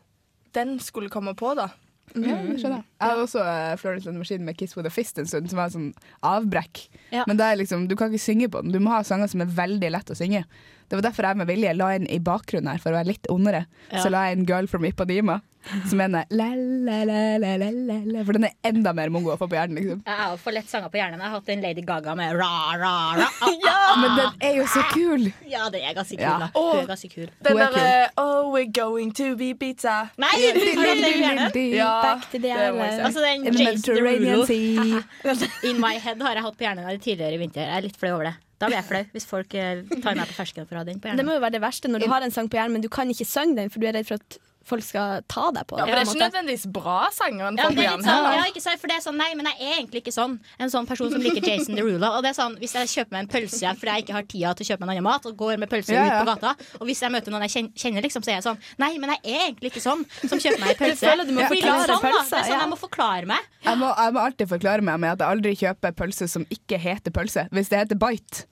[SPEAKER 4] den skulle komme på da
[SPEAKER 3] Ja,
[SPEAKER 2] Mm.
[SPEAKER 3] det skjønner jeg. Jeg hadde også uh, Florence and the Machine med 'Kiss with a Fist' en stund, som var en sånn avbrekk.
[SPEAKER 4] Ja.
[SPEAKER 3] Men det er liksom, du kan ikke synge på den. Du må ha sanger som er veldig lett å synge. Det var derfor jeg med vilje la inn i bakgrunnen her, for å være litt ondere.
[SPEAKER 2] Ja.
[SPEAKER 3] Så la jeg inn 'Girl from Ipanema'. som er den der la, la, la, la, la, la, la, For den er enda mer mongo å få på hjernen, liksom.
[SPEAKER 2] Jeg har jo for lett sanger på hjernen. Jeg har hatt en Lady Gaga med ra, ra, ra. ah,
[SPEAKER 3] Men den er jo så kul!
[SPEAKER 2] Ja, det er ganske kul,
[SPEAKER 3] Ja.
[SPEAKER 2] da.
[SPEAKER 4] Åh,
[SPEAKER 2] Hun er ganske kul.
[SPEAKER 4] Den derre Oh, we're going to be pizza.
[SPEAKER 2] Nei,
[SPEAKER 5] Eh,
[SPEAKER 2] du kan legge gjerne.
[SPEAKER 5] Back to the island.
[SPEAKER 2] Altså, den
[SPEAKER 5] In the
[SPEAKER 2] Jason
[SPEAKER 5] Mediterranean
[SPEAKER 2] Derulo.
[SPEAKER 5] Sea.
[SPEAKER 2] In my head har jeg hatt på hjernen her tidligere i vinter. Jeg er litt flau over det. Da blir jeg flau, hvis folk eh, tar meg på fersken for å ha den på
[SPEAKER 5] Det
[SPEAKER 2] hjernen.
[SPEAKER 5] må jo være det verste når du har en sang på hjernen, men du kan ikke synge den, for du er redd for at folk skal ta deg på
[SPEAKER 4] Ja, for
[SPEAKER 5] det.
[SPEAKER 4] det er ikke nødvendigvis bra sangeren
[SPEAKER 2] Ja,
[SPEAKER 4] får
[SPEAKER 2] det er
[SPEAKER 4] på
[SPEAKER 2] litt
[SPEAKER 4] hjernen
[SPEAKER 2] sånn,
[SPEAKER 4] heller.
[SPEAKER 2] ja, ikke sant, for det er sånn, nei, men jeg er egentlig ikke sånn. En sånn person som liker Jason Derulo. Og det er sånn, Hvis jeg kjøper meg en pølse igjen fordi jeg ikke har tida til å kjøpe meg en annen mat, og går med pølse
[SPEAKER 5] Ja,
[SPEAKER 2] ut
[SPEAKER 5] ja.
[SPEAKER 2] på gata, og hvis jeg møter noen jeg kjen- kjenner, liksom, så er jeg sånn Nei, men jeg er egentlig ikke sånn som kjøper meg en
[SPEAKER 5] Du
[SPEAKER 2] pølse.
[SPEAKER 5] føler du må
[SPEAKER 2] Fordi det er
[SPEAKER 5] forklare
[SPEAKER 2] sånn, da.
[SPEAKER 5] pølser,
[SPEAKER 2] Det er sånn,
[SPEAKER 5] ja.
[SPEAKER 2] jeg må forklare meg.
[SPEAKER 3] Jeg må, jeg må alltid forklare meg med at jeg aldri kjøper pølse som ikke heter pølse, hvis det heter bite.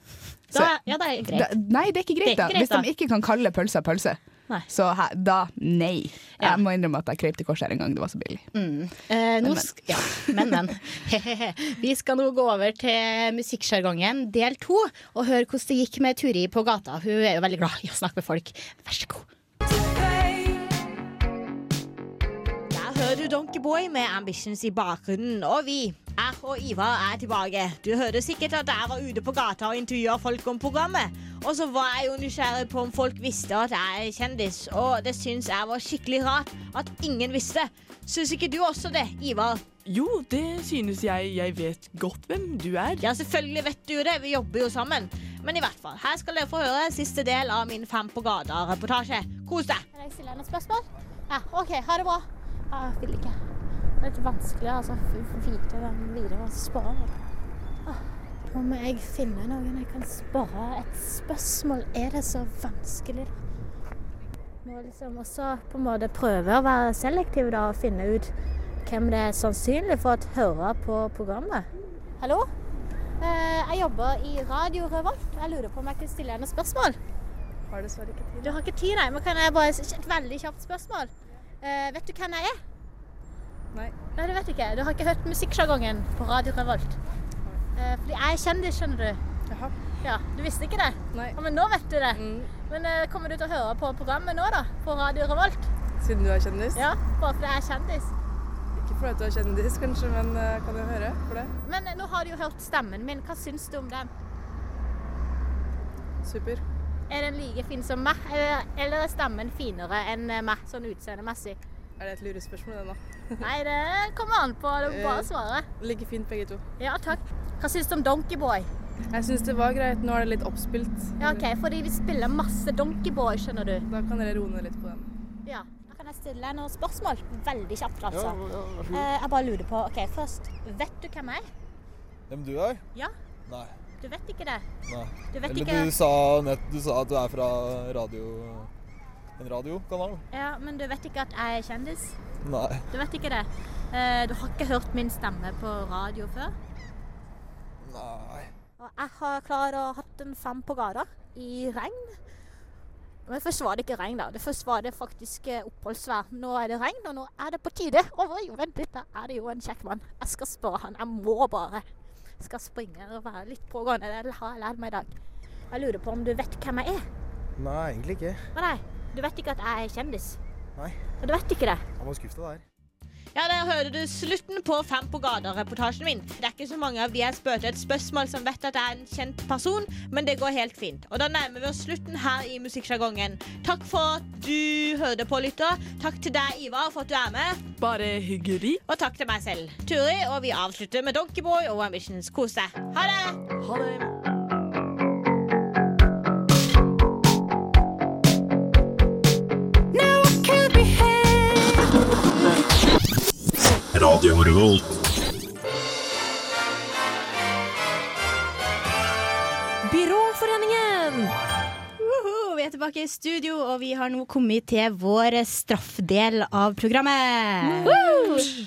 [SPEAKER 2] Da, ja, det er greit.
[SPEAKER 3] Da, nei, det er ikke greit,
[SPEAKER 2] Det er ikke
[SPEAKER 3] da.
[SPEAKER 2] greit,
[SPEAKER 3] Hvis
[SPEAKER 2] da.
[SPEAKER 3] de ikke kan kalle pølsa pølse.
[SPEAKER 2] Nei.
[SPEAKER 3] Så he, da nei. Jeg må innrømme at jeg krøp til korset her en gang, det var så billig.
[SPEAKER 2] Mm. Eh, nå
[SPEAKER 3] Men, men.
[SPEAKER 2] sk ja, men, men. Hehehe. Vi skal nå gå over til musikksjargongen del to, og høre hvordan det gikk med Turi på gata. Hun er jo veldig glad i å snakke med folk. Vær så god.
[SPEAKER 1] Der hører du Donkeyboy med Ambitions i bakgrunnen. Og vi, jeg og Ivar, er tilbake. Du hørte sikkert at jeg var ute på gata og intervjua folk om programmet. Og så var jeg jo nysgjerrig på om folk visste at jeg er kjendis. Og det syns jeg var skikkelig rart at ingen visste. Syns ikke du også det, Ivar?
[SPEAKER 4] Jo, det synes jeg. Jeg vet godt hvem du er.
[SPEAKER 1] Ja, selvfølgelig vet du det. Vi jobber jo sammen. Men i hvert fall, her skal dere få høre siste del av min Fem på gata-reportasje. Kos deg.
[SPEAKER 9] Kan jeg stille deg noen spørsmål? Ja, OK, ha det bra. Ja, jeg vil ikke. Det er litt vanskelig altså, å f- vite hvem videre man skal spørre. om. Ah, Nå må jeg finne noen jeg kan spørre et spørsmål. Er det så vanskelig, da? Må liksom også på en måte prøve å være selektiv da, og finne ut hvem det er sannsynlig for å høre på programmet. Hallo? Eh, Jeg jobber i Radio Revolt. Jeg lurer på om jeg kan stille deg noen spørsmål? Har dessverre ikke tid. Du har ikke tid, nei. Men kan jeg bare s- Et veldig kjapt spørsmål. Eh, vet du hvem jeg er? Nei. Nei, du vet ikke. Du har ikke hørt musikksjargongen på Radio Revolt? Eh, fordi jeg er kjendis, skjønner du. Jaha. Ja, Du visste ikke det? Nei. Ja, men nå vet du det. Men eh, kommer du til å høre på programmet nå, da? På Radio Revolt?
[SPEAKER 17] Siden du er kjendis?
[SPEAKER 9] Ja, bare fordi jeg er kjendis.
[SPEAKER 17] Ikke fordi du er kjendis, kanskje, men eh, kan jeg høre for det?
[SPEAKER 9] Men eh, nå har du jo hørt stemmen min. Hva syns du om den?
[SPEAKER 17] Super.
[SPEAKER 9] Er den like fin som meg, eller, eller er stemmen finere enn eh, meg, sånn utseendemessig?
[SPEAKER 17] Er det et lurespørsmål, det nå?
[SPEAKER 9] Nei, det kommer an på. Du må bare svare.
[SPEAKER 17] Ligger fint, begge to.
[SPEAKER 9] Ja, takk. Hva syns du om Donkeyboy?
[SPEAKER 17] Jeg syns det var greit. Nå er det litt oppspilt.
[SPEAKER 9] Ja, OK, fordi vi spiller masse Donkeyboy, skjønner du.
[SPEAKER 17] Da kan dere roe ned litt på den.
[SPEAKER 9] Ja. Da kan jeg stille deg noen spørsmål. Veldig kjapt, altså.
[SPEAKER 17] Ja, ja, vær så god.
[SPEAKER 9] Eh, jeg bare lurer på OK, først. Vet du hvem jeg er?
[SPEAKER 18] Hvem du er?
[SPEAKER 9] Ja,
[SPEAKER 18] Nei.
[SPEAKER 9] du vet ikke det?
[SPEAKER 18] nei.
[SPEAKER 9] Du vet
[SPEAKER 18] Eller
[SPEAKER 9] ikke-
[SPEAKER 18] Du, sa nett, du sa at du er fra radio... En radiokanal?
[SPEAKER 9] Ja, men du vet ikke at jeg er kjendis?
[SPEAKER 18] Nei.
[SPEAKER 9] Du vet ikke det? Eh, du har ikke hørt min stemme på radio før?
[SPEAKER 18] Nei.
[SPEAKER 9] Og jeg har klart å ha hatt en fem på gata i regn. Men først var det ikke regn, da. Det først var det faktisk eh, oppholdsvær. Nå er det regn, og nå er det på tide. Over jorden. Dette er det jo en kjekk mann. Jeg skal spørre han. Jeg må bare. Jeg skal springe og være litt pågående. Det har jeg lært meg i dag. Jeg lurer på om du vet hvem jeg er?
[SPEAKER 19] Nei, egentlig ikke.
[SPEAKER 9] Å nei, du vet ikke at jeg er kjendis?
[SPEAKER 19] Nei.
[SPEAKER 9] Du vet ikke det?
[SPEAKER 19] Han var skuffet av deg.
[SPEAKER 1] Ja, Der hører du slutten på Fem på gata-reportasjen min. Det er ikke så mange av de jeg spurte et spørsmål som vet at jeg er en kjent person, men det går helt fint. Og da nærmer vi oss slutten her i Musikksjargongen. Takk for at du hørte på, lytter. Takk til deg, Ivar, for at du er med.
[SPEAKER 4] Bare hyggelig.
[SPEAKER 1] Og takk til meg selv, Turi. Og vi avslutter med Donkeyboy og Ambitions. Kos deg. Ha det!
[SPEAKER 4] Ha det.
[SPEAKER 12] Radio Revolt.
[SPEAKER 5] Byråforeningen!
[SPEAKER 2] Uhu, vi er tilbake i studio, og vi har nå kommet til vår straffdel av programmet.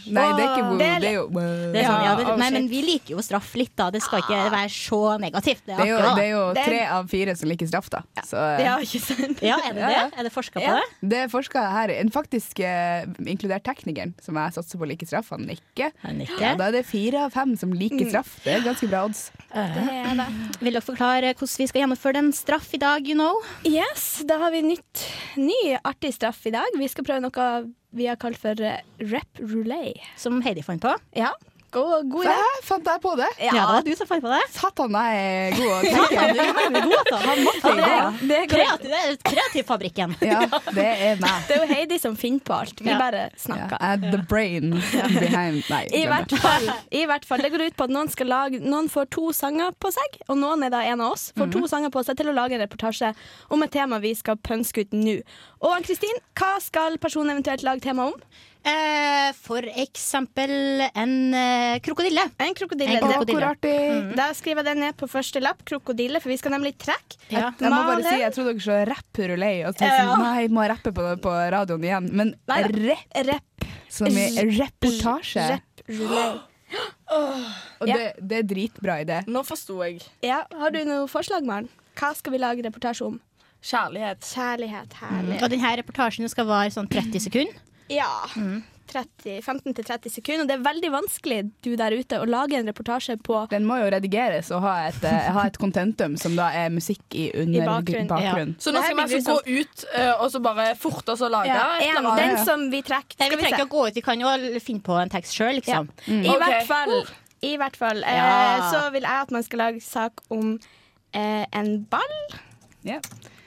[SPEAKER 3] Nei, det er ikke
[SPEAKER 2] Åh.
[SPEAKER 3] woo,
[SPEAKER 2] Del-
[SPEAKER 3] det er jo
[SPEAKER 2] Det er sånn, ja, det,
[SPEAKER 3] Ja, oh,
[SPEAKER 2] nei,
[SPEAKER 3] shit.
[SPEAKER 2] men vi liker jo straff litt, da. Det skal ikke være så negativt.
[SPEAKER 3] Det er jo,
[SPEAKER 2] akkurat.
[SPEAKER 3] det er jo
[SPEAKER 2] Ah. Det er-
[SPEAKER 3] tre av fire som liker straff, da. Så, eh,
[SPEAKER 2] Ja, ikke sant? Ja, er det det? Er det forska på det?
[SPEAKER 3] Det er forska her, en faktisk eh, inkludert teknikeren, som jeg satser på liker straff. Han nikker.
[SPEAKER 2] nikker.
[SPEAKER 3] Ja, da er det fire av fem som liker
[SPEAKER 2] Mm.
[SPEAKER 3] straff. Det er ganske bra odds.
[SPEAKER 2] Vil dere forklare hvordan vi skal gjennomføre en straff i dag, you know?
[SPEAKER 5] Yes, Yes, da har vi nytt, ny artig straff i dag. Vi skal prøve noe vi har kalt for eh, rap roulette.
[SPEAKER 2] Som Heidi fant på?
[SPEAKER 5] Ja. God, god idé.
[SPEAKER 3] Hæ? Fant jeg på det?
[SPEAKER 5] Ja,
[SPEAKER 2] Ja, det var du som fant på det.
[SPEAKER 3] Satan, jeg er god å
[SPEAKER 2] Satan, du er
[SPEAKER 3] tenke.
[SPEAKER 2] veldig god, altså.
[SPEAKER 3] Han måtte
[SPEAKER 2] Ja,
[SPEAKER 3] jo
[SPEAKER 2] det-
[SPEAKER 3] gå.
[SPEAKER 2] det er kreativ- det er Kreativfabrikken.
[SPEAKER 3] Ja, det er meg.
[SPEAKER 5] Det er jo Heidi som finner på alt. Vi
[SPEAKER 3] Ja.
[SPEAKER 5] bare
[SPEAKER 3] Ja,
[SPEAKER 5] snakker.
[SPEAKER 3] jeg er the brain behind Nei,
[SPEAKER 5] I
[SPEAKER 3] glem
[SPEAKER 5] hvert,
[SPEAKER 3] det.
[SPEAKER 5] fall, I hvert fall. Det går ut på at noen, skal lage, noen får to sanger på seg, og noen er da en av oss, får to
[SPEAKER 3] Mhm.
[SPEAKER 5] sanger på seg til å lage en reportasje om et tema vi skal pønske ut nå. Og Ann-Kristin, hva skal personen eventuelt lage tema om?
[SPEAKER 2] Eh, for eksempel en eh, krokodille.
[SPEAKER 5] En krokodille.
[SPEAKER 2] En krokodille.
[SPEAKER 5] Mm. Da skriver jeg den ned på første lapp, krokodille, for vi skal nemlig trekke.
[SPEAKER 3] Jeg, jeg må bare si, jeg trodde dere så rapperulei, og så tenkte jeg
[SPEAKER 5] Ja.
[SPEAKER 3] sånn, nei, må jeg rappe på, på radioen igjen? Men rep,
[SPEAKER 5] Rep.
[SPEAKER 3] som i reportasje.
[SPEAKER 5] Rep.
[SPEAKER 3] Og det, det er dritbra idé.
[SPEAKER 20] Nå forsto jeg.
[SPEAKER 5] Ja, har du noe forslag, Maren? Hva skal vi lage reportasje om? Kjærlighet. Kjærlighet,
[SPEAKER 2] Mm.
[SPEAKER 5] herlig.
[SPEAKER 2] Og denne reportasjen skal vare sånn 30 sekunder.
[SPEAKER 5] Ja. 30, 15 til 30 sekunder. Og det er veldig vanskelig, du der ute, å lage en reportasje på
[SPEAKER 3] Den må jo redigeres og ha et, eh, ha et contentum som da er musikk i under
[SPEAKER 5] I bakgrunn,
[SPEAKER 3] bakgrunn.
[SPEAKER 20] Så nå skal vi altså gå ut eh, og så bare forte oss å lage
[SPEAKER 5] ja,
[SPEAKER 20] et
[SPEAKER 5] en,
[SPEAKER 20] eller annet.
[SPEAKER 5] Den som vi trekker.
[SPEAKER 2] Nei, vi
[SPEAKER 5] Skal vi
[SPEAKER 2] trenger
[SPEAKER 5] se.
[SPEAKER 2] ikke å gå ut, vi kan jo finne på en tekst sjøl,
[SPEAKER 5] Ja.
[SPEAKER 2] liksom.
[SPEAKER 5] I hvert fall, i hvert fall eh,
[SPEAKER 2] Ja.
[SPEAKER 5] så vil jeg at man skal lage sak om eh, en ball.
[SPEAKER 3] Ja.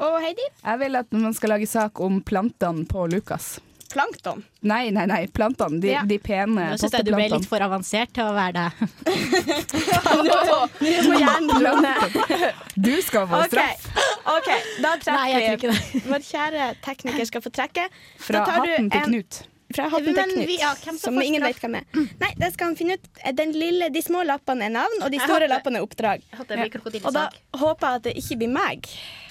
[SPEAKER 5] Og Heidi?
[SPEAKER 3] Jeg vil at man skal lage sak om plantene på Lukas.
[SPEAKER 5] Plankton.
[SPEAKER 3] Nei, nei, nei, plantene. De,
[SPEAKER 5] Ja.
[SPEAKER 3] de pene
[SPEAKER 2] Nå syns jeg du ble litt
[SPEAKER 3] potteplantene.
[SPEAKER 2] for avansert til å være deg.
[SPEAKER 5] Du må gjerne blande.
[SPEAKER 3] Du skal få
[SPEAKER 5] OK,
[SPEAKER 3] straff
[SPEAKER 5] ok, da trekker
[SPEAKER 2] Nei, jeg tror
[SPEAKER 5] vi. Vår kjære tekniker skal få trekke.
[SPEAKER 3] fra
[SPEAKER 5] Da tar du
[SPEAKER 3] hatten til
[SPEAKER 5] en-
[SPEAKER 3] Knut.
[SPEAKER 5] Fra hatten til
[SPEAKER 2] Men
[SPEAKER 5] Knut,
[SPEAKER 2] vi- ja, hvem skal
[SPEAKER 5] som
[SPEAKER 2] få
[SPEAKER 5] ingen
[SPEAKER 2] straff?
[SPEAKER 5] vet hvem er. Nei, det skal han finne ut. Den lille, de små lappene er navn, og de
[SPEAKER 2] Jeg
[SPEAKER 5] store
[SPEAKER 2] håper-
[SPEAKER 5] lappene er oppdrag.
[SPEAKER 2] jeg håper det blir krokodillesak.
[SPEAKER 5] Og da håper jeg at det ikke blir meg.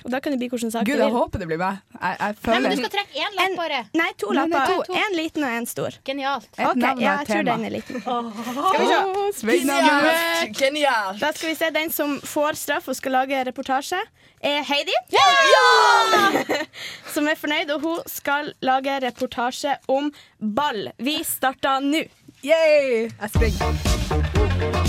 [SPEAKER 5] Og da kan det bli hvilken sak
[SPEAKER 3] Gud,
[SPEAKER 5] du
[SPEAKER 3] jeg
[SPEAKER 5] vil.
[SPEAKER 3] håper det blir meg. Jeg, jeg
[SPEAKER 2] Nei,
[SPEAKER 3] føler
[SPEAKER 2] men du skal trekke én lapp, bare.
[SPEAKER 5] Nei, to
[SPEAKER 3] Nei, nei,
[SPEAKER 5] lapper.
[SPEAKER 3] to.
[SPEAKER 5] En liten og en stor.
[SPEAKER 2] Genialt.
[SPEAKER 3] Et
[SPEAKER 5] Ok,
[SPEAKER 3] navn er
[SPEAKER 5] ja, jeg
[SPEAKER 3] et
[SPEAKER 5] tror
[SPEAKER 3] tema.
[SPEAKER 5] den er liten.
[SPEAKER 20] Skal vi se.
[SPEAKER 3] Åh, Svein
[SPEAKER 20] Genialt. Genialt.
[SPEAKER 5] Da skal vi se. Den som får straff og skal lage reportasje, er Heidi. som er fornøyd, og hun skal lage reportasje om ball. Vi starter nå.
[SPEAKER 3] Yay! Jeg springer.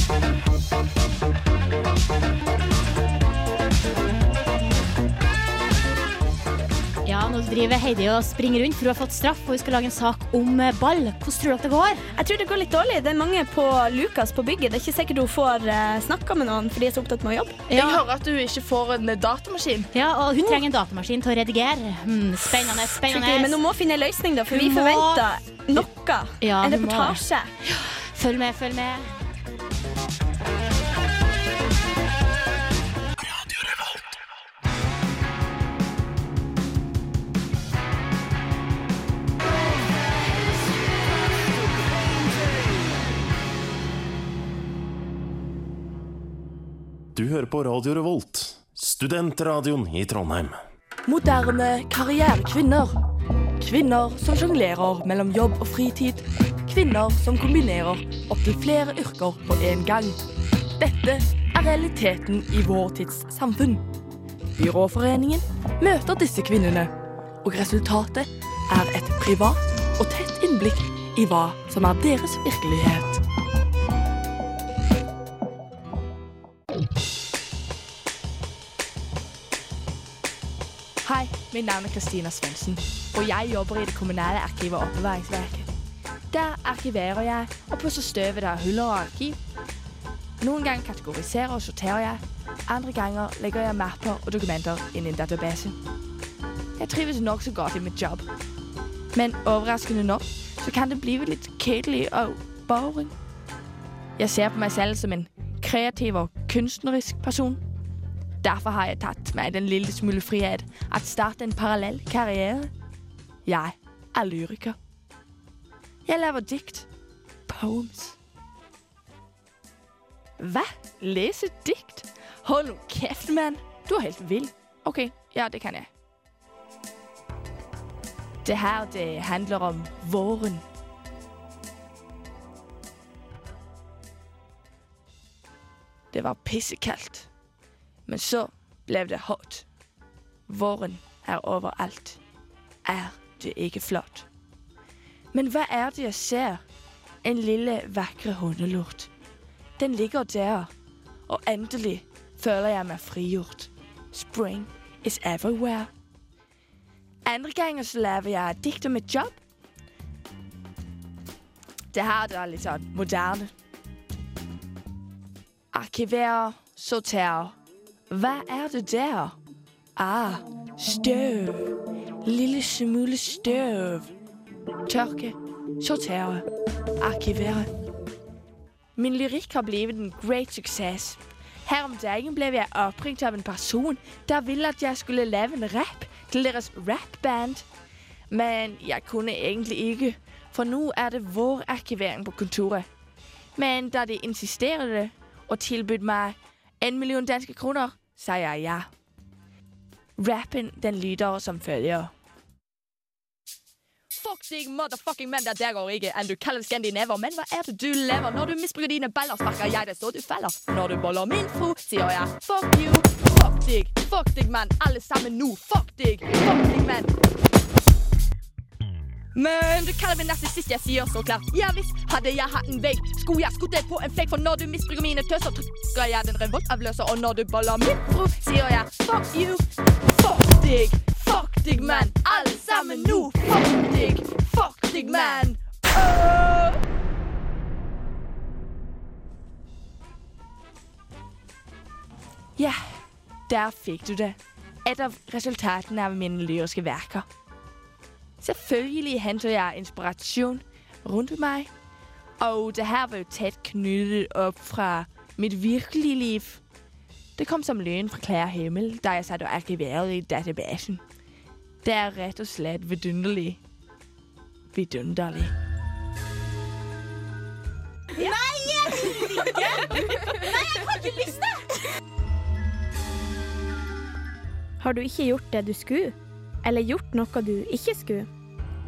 [SPEAKER 2] Ja, nå driver Heidi og springer rundt, for hun har fått straff, og hun skal lage en sak om eh, ball. Hvordan tror du at det går?
[SPEAKER 5] Jeg tror det går litt dårlig. Det er mange på Lukas på bygget. Det er ikke sikkert hun får uh, snakka med noen, for de er så opptatt med å jobbe.
[SPEAKER 20] Jeg hører at du ikke får en datamaskin.
[SPEAKER 2] Ja, og hun trenger en datamaskin til å redigere. Hmm, spennende, spennende.
[SPEAKER 5] Skikkelig, Men hun må finne en løsning, da, for
[SPEAKER 2] Hun
[SPEAKER 5] vi
[SPEAKER 2] må-
[SPEAKER 5] forventer noe.
[SPEAKER 2] Ja,
[SPEAKER 5] en
[SPEAKER 2] hun må det.
[SPEAKER 5] reportasje.
[SPEAKER 2] Følg med, følg med.
[SPEAKER 21] Du hører på Radio Revolt, studentradioen i Trondheim.
[SPEAKER 22] Moderne karrierekvinner. Kvinner som sjonglerer mellom jobb og fritid. Kvinner som kombinerer opptil flere yrker på én gang. Dette er realiteten i vår tids samfunn. Byråforeningen møter disse kvinnene, og resultatet er et privat og tett innblikk i hva som er deres virkelighet.
[SPEAKER 4] Hei, mitt navn er Kristina Svendsen, og jeg jobber i det kommunale arkivet og oppbevaringsverket. Der arkiverer jeg og pusser støvet av huller og arkiv. Noen ganger kategoriserer og sorterer jeg, andre ganger legger jeg mapper og dokumenter inn i en database. Jeg trives nok så godt i mitt jobb, men overraskende nok så kan det bli litt kjedelig og boring. Jeg ser på meg selv som en kreativ og kunstnerisk person. Derfor har jeg tatt meg den lille smule frihet at starte en parallell karriere. Jeg er lyriker. Jeg laver dikt. Poems. Hva? Lese dikt? Hold nå kjeft, mann. Du er helt vill. OK, ja, det kan jeg. Det her, det handler om våren. Det var pissekaldt. Men så ble det hot. Våren er overalt. Er det ikke flott? Men hva er det jeg ser? En lille, vakre hundelort. Den ligger der, og endelig føler jeg meg frigjort. Spring is everywhere. Andre ganger så laver jeg dikt om et jobb. Det her det er litt sånn moderne. Arkiverer, sorterer. Hva er det der? Ah, støv. Lille smule støv. Tørke, sortere, arkivere. Min lyrikk har blitt en great suksess. Her om dagen ble jeg oppringt av en person der ville at jeg skulle lave en rap til deres rapband. Men jeg kunne egentlig ikke, for nå er det vår arkivering på kontoret. Men da de insisterte og tilbød meg en million danske kroner, sa jeg ja. Rappen den lyder som følger.
[SPEAKER 23] Fuck deg, motherfucking menn, det der går ikke. Enn du kaller skandinaver. Men hva er det du lever? Når du misbruker dine baller, sparker jeg deg så du feller. Når du boller min fro, sier jeg fuck you. Fuck deg, fuck deg, mann. Alle sammen nå. Fuck deg, fuck deg, mann. Men du kaller meg narsissist, jeg sier så klart ja visst. Hadde jeg hatt en vegg, skulle jeg skutt deg på en flekk. For når du misbruker mine tøser, trykker jeg den revoltavløser. Og når du boller min fro, sier jeg fuck you. Fuck deg, fuck deg, mann. Alle sammen nå. Fuck deg, fuck Oh. deg, mann. Åh!
[SPEAKER 4] Ja, der fikk du det. Et av resultatene av mine lyriske verker. Selvfølgelig henter jeg inspirasjon rundt meg. Og det her var jo tett knyttet opp fra mitt virkelige liv. Det kom som lyn fra klar himmel da jeg satt og arkiverte i databasen. Det er rett og slett vidunderlig. Vidunderlig.
[SPEAKER 24] Nei, jeg vil ikke! Nei, jeg har ikke lyst til det!
[SPEAKER 5] Har du ikke gjort det du skulle, eller gjort noe du ikke skulle,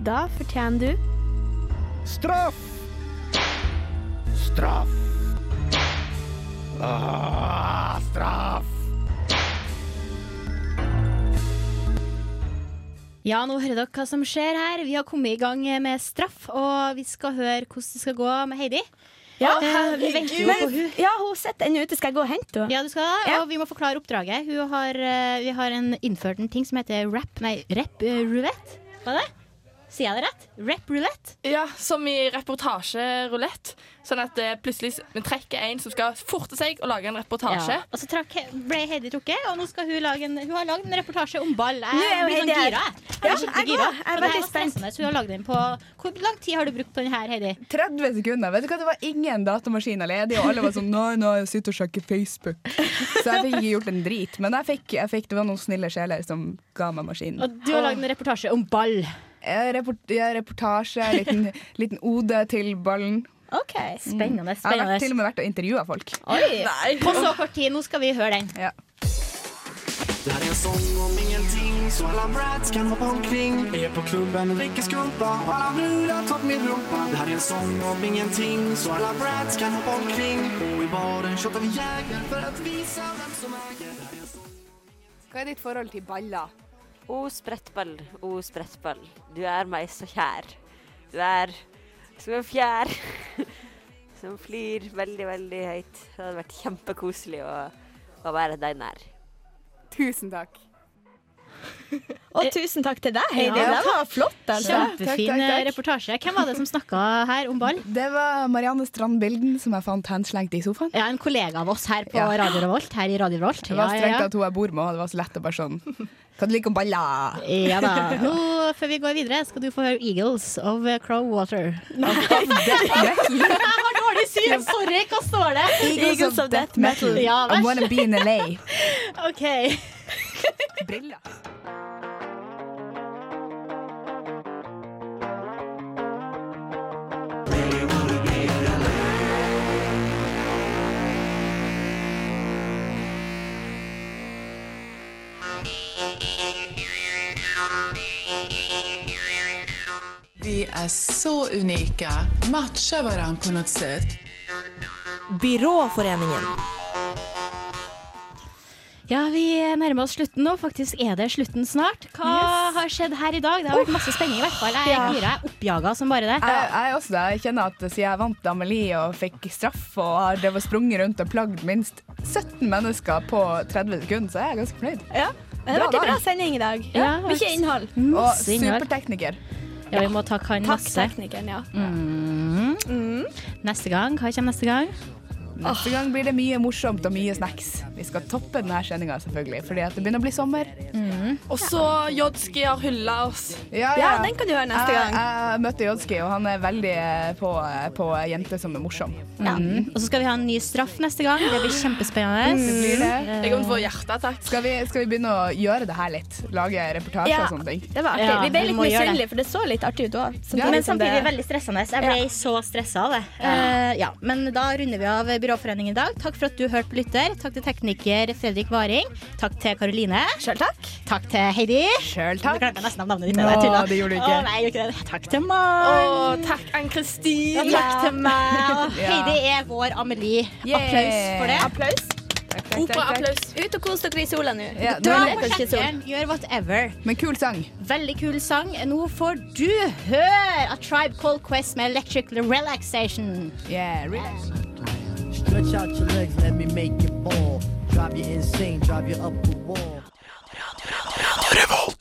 [SPEAKER 5] da fortjener du
[SPEAKER 25] Straff! Straff! Ah, straff!
[SPEAKER 2] Ja, nå hører dere hva som skjer her. Vi har kommet i gang med straff, og vi skal høre hvordan det skal gå med Heidi.
[SPEAKER 5] Ja,
[SPEAKER 2] Eh, vi venter jo på
[SPEAKER 5] Men-
[SPEAKER 2] hun.
[SPEAKER 5] Ja, hun sitter ennå ute. Skal jeg gå og hente henne?
[SPEAKER 2] Ja, du skal det. Og vi må forklare oppdraget. Hun har, eh, vi har en, innført en ting som heter rap, nei, rap eh, roulette. Hva er det? Sier jeg det rett? Rap roulette?
[SPEAKER 26] Ja, som i reportasjerulett. Sånn at eh, plutselig s- vi trekker en som skal forte seg og lage en reportasje.
[SPEAKER 2] Ja. Og så trakk, ble Heidi trukket, og nå skal hun lage en, hun har lagd en reportasje om ball. Jeg,
[SPEAKER 5] Nå er jo
[SPEAKER 2] blir sånn
[SPEAKER 5] Heidi her.
[SPEAKER 2] gira, jeg. Jeg
[SPEAKER 5] Ja,
[SPEAKER 2] blir skikkelig
[SPEAKER 5] jeg
[SPEAKER 2] gira.
[SPEAKER 5] også. Jeg er
[SPEAKER 2] Og det her
[SPEAKER 5] veldig
[SPEAKER 2] var stressende, så hun har lagd den på Hvor lang tid har du brukt på den her, Heidi?
[SPEAKER 3] 30 sekunder. Vet du hva, Det var ingen datamaskiner ledig, og alle var sånn nei, nei, jeg sitter og sjekker Facebook. Så jeg fikk ikke gjort en drit. Men jeg fikk, jeg fikk, det var noen snille sjeler som ga meg maskinen.
[SPEAKER 2] Og du har lagd en reportasje om ball.
[SPEAKER 3] Ja, report, ja, reportasje, liten, liten ode til ballen.
[SPEAKER 2] Ok, Spennende.
[SPEAKER 3] Jeg har
[SPEAKER 2] spennende.
[SPEAKER 3] vært, til og med vært og intervjua folk.
[SPEAKER 2] Oi. På så kort tid. Nå skal vi høre den.
[SPEAKER 25] Det her er en sång om ingenting, så alla brats kan hoppa omkring. Är på klubben, dricker skumpa, och alla brudar topp med rumpa. Det här är en sång om ingenting, så alla brats kan hoppa omkring. Och i baren shottar vi Jäger för att visa vem som äger. Det här är en sång-
[SPEAKER 27] Hva er ditt forhold til baller?
[SPEAKER 28] O sprettball, o sprettball, du er meg så kjær. Du er som en fjær som flyr veldig, veldig høyt. Det hadde vært kjempekoselig å, å være deg nær.
[SPEAKER 27] Tusen takk.
[SPEAKER 5] Og tusen takk til deg, Heidi.
[SPEAKER 2] Ja,
[SPEAKER 5] det var
[SPEAKER 2] takk.
[SPEAKER 5] flott. Altså.
[SPEAKER 2] Kjempefin eh, reportasje. Hvem var det som snakka her om ball?
[SPEAKER 3] Det var Marianne Strand Bilden som jeg fant henslengt i sofaen.
[SPEAKER 2] Ja, En kollega av oss her på
[SPEAKER 3] Ja.
[SPEAKER 2] Radio Revolt. Her i Radio Revolt.
[SPEAKER 3] Det var
[SPEAKER 2] Ja, ja,
[SPEAKER 3] strengt
[SPEAKER 2] ja.
[SPEAKER 3] at hun jeg bor med, og det var så lett å bare sånn Hva du liker om baller?
[SPEAKER 2] Ja da. Nå, før vi går videre, skal du få høre Eagles of eh, Crowwater. Jeg har dårlig syn! Sorry, hva står det?
[SPEAKER 3] Eagles of sånn death metal.
[SPEAKER 2] Ja,
[SPEAKER 3] I
[SPEAKER 2] vær
[SPEAKER 3] wanna
[SPEAKER 2] så
[SPEAKER 3] be in LA.
[SPEAKER 2] OK.
[SPEAKER 29] Vi är så unika, matchar varandra på något sätt.
[SPEAKER 9] Byråforeningen.
[SPEAKER 2] Ja, vi nærmer oss slutten nå. Faktisk er det slutten snart. Hva har skjedd her i dag? Det har vært masse spenning, i hvert fall. Jeg
[SPEAKER 3] Ja.
[SPEAKER 2] er gira. Jeg er oppjaga som bare det.
[SPEAKER 3] Jeg, jeg er også det. Jeg kjenner at siden jeg vant Amelie og fikk straff og har drevet og sprunget rundt og plagd minst 17 mennesker på 30 sekunder, så jeg er ganske fornøyd.
[SPEAKER 5] Det ble bra sending i dag. Ja,
[SPEAKER 2] Ja,
[SPEAKER 5] Mye innhold.
[SPEAKER 3] Og
[SPEAKER 2] Masse innhold.
[SPEAKER 3] supertekniker.
[SPEAKER 2] Ja, vi må takke han
[SPEAKER 5] Takk,
[SPEAKER 2] masse.
[SPEAKER 5] teknikeren. Ja.
[SPEAKER 2] Mm. Neste gang, hva kommer neste gang?
[SPEAKER 3] Neste gang blir det mye morsomt og mye snacks. Vi skal toppe denne sendinga, selvfølgelig, fordi at det begynner å bli sommer.
[SPEAKER 4] Og så Jodski har hylla oss.
[SPEAKER 5] Ja, den kan du høre neste gang.
[SPEAKER 3] Jeg, jeg møtte Jodski, og han er veldig eh, på, på jenter som er morsom.
[SPEAKER 2] Mm. Og så skal vi ha en ny straff neste gang. Det blir kjempespennende.
[SPEAKER 3] Det blir det.
[SPEAKER 2] Eh,
[SPEAKER 4] hjerteattakk.
[SPEAKER 3] Skal vi, skal vi begynne å gjøre det her litt? Lage reportasjer
[SPEAKER 5] Ja,
[SPEAKER 3] og sånne ting?
[SPEAKER 5] Det var artig.
[SPEAKER 2] Ja,
[SPEAKER 5] vi ble
[SPEAKER 2] vi
[SPEAKER 5] litt
[SPEAKER 2] må gjøre
[SPEAKER 5] misunnelige, for det så litt artig ut òg.
[SPEAKER 2] Ja, men samtidig veldig stressende. Jeg ble så stressa av det. Eh, liksom ja, men da runder vi av Byråforeningen i dag. Takk for at du hørte på lytter. Takk til tekniker Fredrik Varing. Takk til Karoline.
[SPEAKER 5] Sjøl takk.
[SPEAKER 2] Takk til Heidi.
[SPEAKER 3] Sjøl
[SPEAKER 2] takk. Du glemte nesten av navnet ditt.
[SPEAKER 4] Nå,
[SPEAKER 2] jeg tulla.
[SPEAKER 4] det gjorde du ikke.
[SPEAKER 2] Å, nei, jeg gjorde ikke det. Takk til meg.
[SPEAKER 4] Og takk Ann-Kristin.
[SPEAKER 2] Ja, takk til meg. Og
[SPEAKER 4] Ja.
[SPEAKER 2] Heidi er vår Amelie. Applaus for det.
[SPEAKER 5] Applaus.
[SPEAKER 4] Operaapplaus.
[SPEAKER 5] Ut og kos dere i sola nå.
[SPEAKER 2] Dra
[SPEAKER 5] Dra
[SPEAKER 2] på
[SPEAKER 5] dere ikke i sola.
[SPEAKER 2] sjekkeren, gjør whatever.
[SPEAKER 3] Men kul sang.
[SPEAKER 2] Veldig kul sang. Nå får du høre A Tribe Called Quest med Electric Relaxation.
[SPEAKER 3] Yeah, relax.
[SPEAKER 7] Stretch out your legs, let me make you fall. Drive you insane, drive you up the wall.
[SPEAKER 14] Revolt.